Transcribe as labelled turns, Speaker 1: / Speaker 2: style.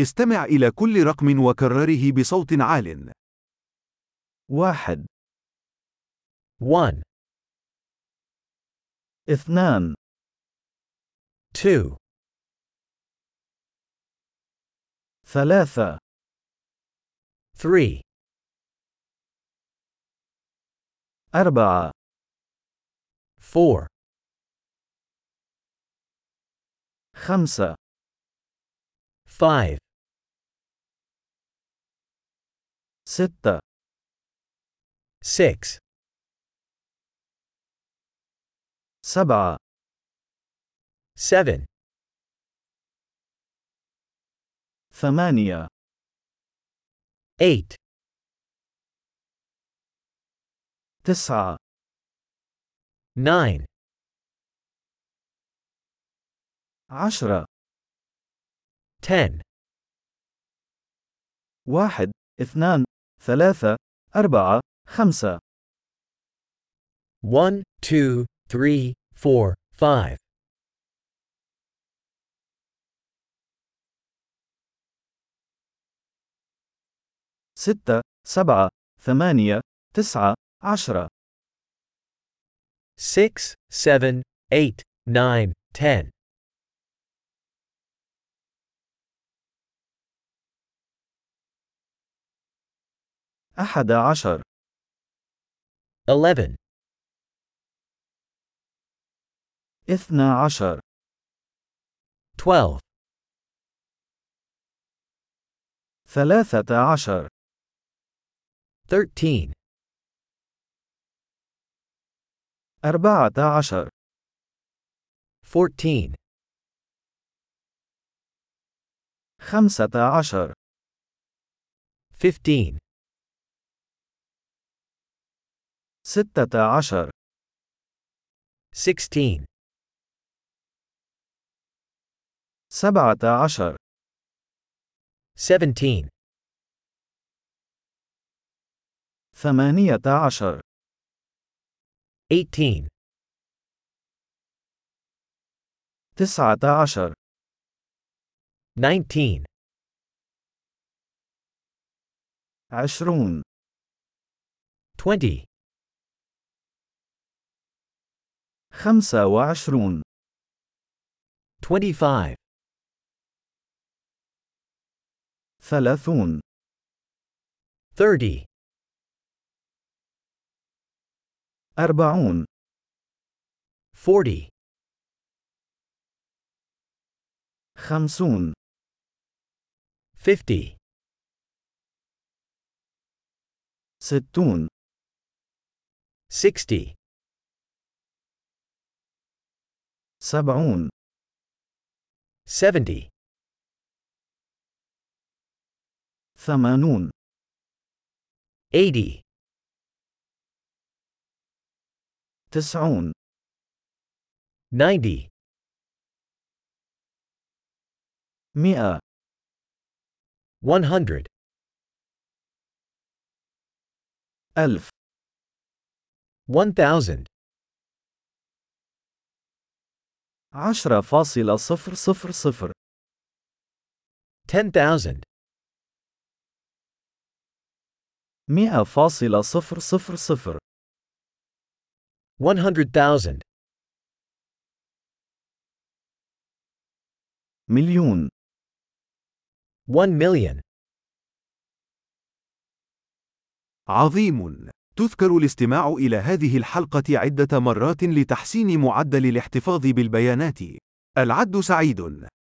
Speaker 1: استمع إلى كل رقم وكرره بصوت عال.
Speaker 2: واحد
Speaker 3: One,
Speaker 2: اثنان
Speaker 3: two,
Speaker 2: ثلاثة
Speaker 3: three,
Speaker 2: أربعة
Speaker 3: four,
Speaker 2: خمسة
Speaker 3: five,
Speaker 2: ستة
Speaker 3: six,
Speaker 2: سبعة
Speaker 3: seven,
Speaker 2: ثمانية
Speaker 3: eight,
Speaker 2: تسعة
Speaker 3: nine,
Speaker 2: عشرة
Speaker 3: ten,
Speaker 2: واحد اثنان ثلاثة أربعة خمسة
Speaker 3: one, two, three, four, five,
Speaker 2: ستة سبعة ثمانية تسعة عشرة
Speaker 3: six, seven, eight, nine, ten,
Speaker 2: أحد عشر
Speaker 3: eleven,
Speaker 2: اثنى عشر
Speaker 3: twelve,
Speaker 2: ثلاثة عشر
Speaker 3: thirteen,
Speaker 2: أربعة عشر
Speaker 3: fourteen,
Speaker 2: خمسة عشر
Speaker 3: fifteen,
Speaker 2: ستة عشر
Speaker 3: sixteen,
Speaker 2: سبعة عشر
Speaker 3: seventeen,
Speaker 2: ثمانية عشر
Speaker 3: eighteen,
Speaker 2: تسعة عشر
Speaker 3: nineteen,
Speaker 2: عشرون
Speaker 3: twenty,
Speaker 2: خمسة وعشرون
Speaker 3: twenty-five,
Speaker 2: ثلاثون
Speaker 3: thirty,
Speaker 2: أربعون
Speaker 3: forty,
Speaker 2: خمسون
Speaker 3: fifty,
Speaker 2: ستون
Speaker 3: sixty,
Speaker 2: سبعون
Speaker 3: seventy,
Speaker 2: ثمانون
Speaker 3: eighty,
Speaker 2: تسعون
Speaker 3: ninety,
Speaker 2: مئة
Speaker 3: one hundred,
Speaker 2: ألف
Speaker 3: one thousand,
Speaker 2: عشرة فاصلة صفر صفر صفر
Speaker 3: ten thousand,
Speaker 2: مئة فاصلة صفر صفر صفر
Speaker 3: one hundred thousand,
Speaker 2: مليون
Speaker 3: one million.
Speaker 1: عظيم! تذكر الاستماع إلى هذه الحلقة عدة مرات لتحسين معدل الاحتفاظ بالبيانات. العد سعيد!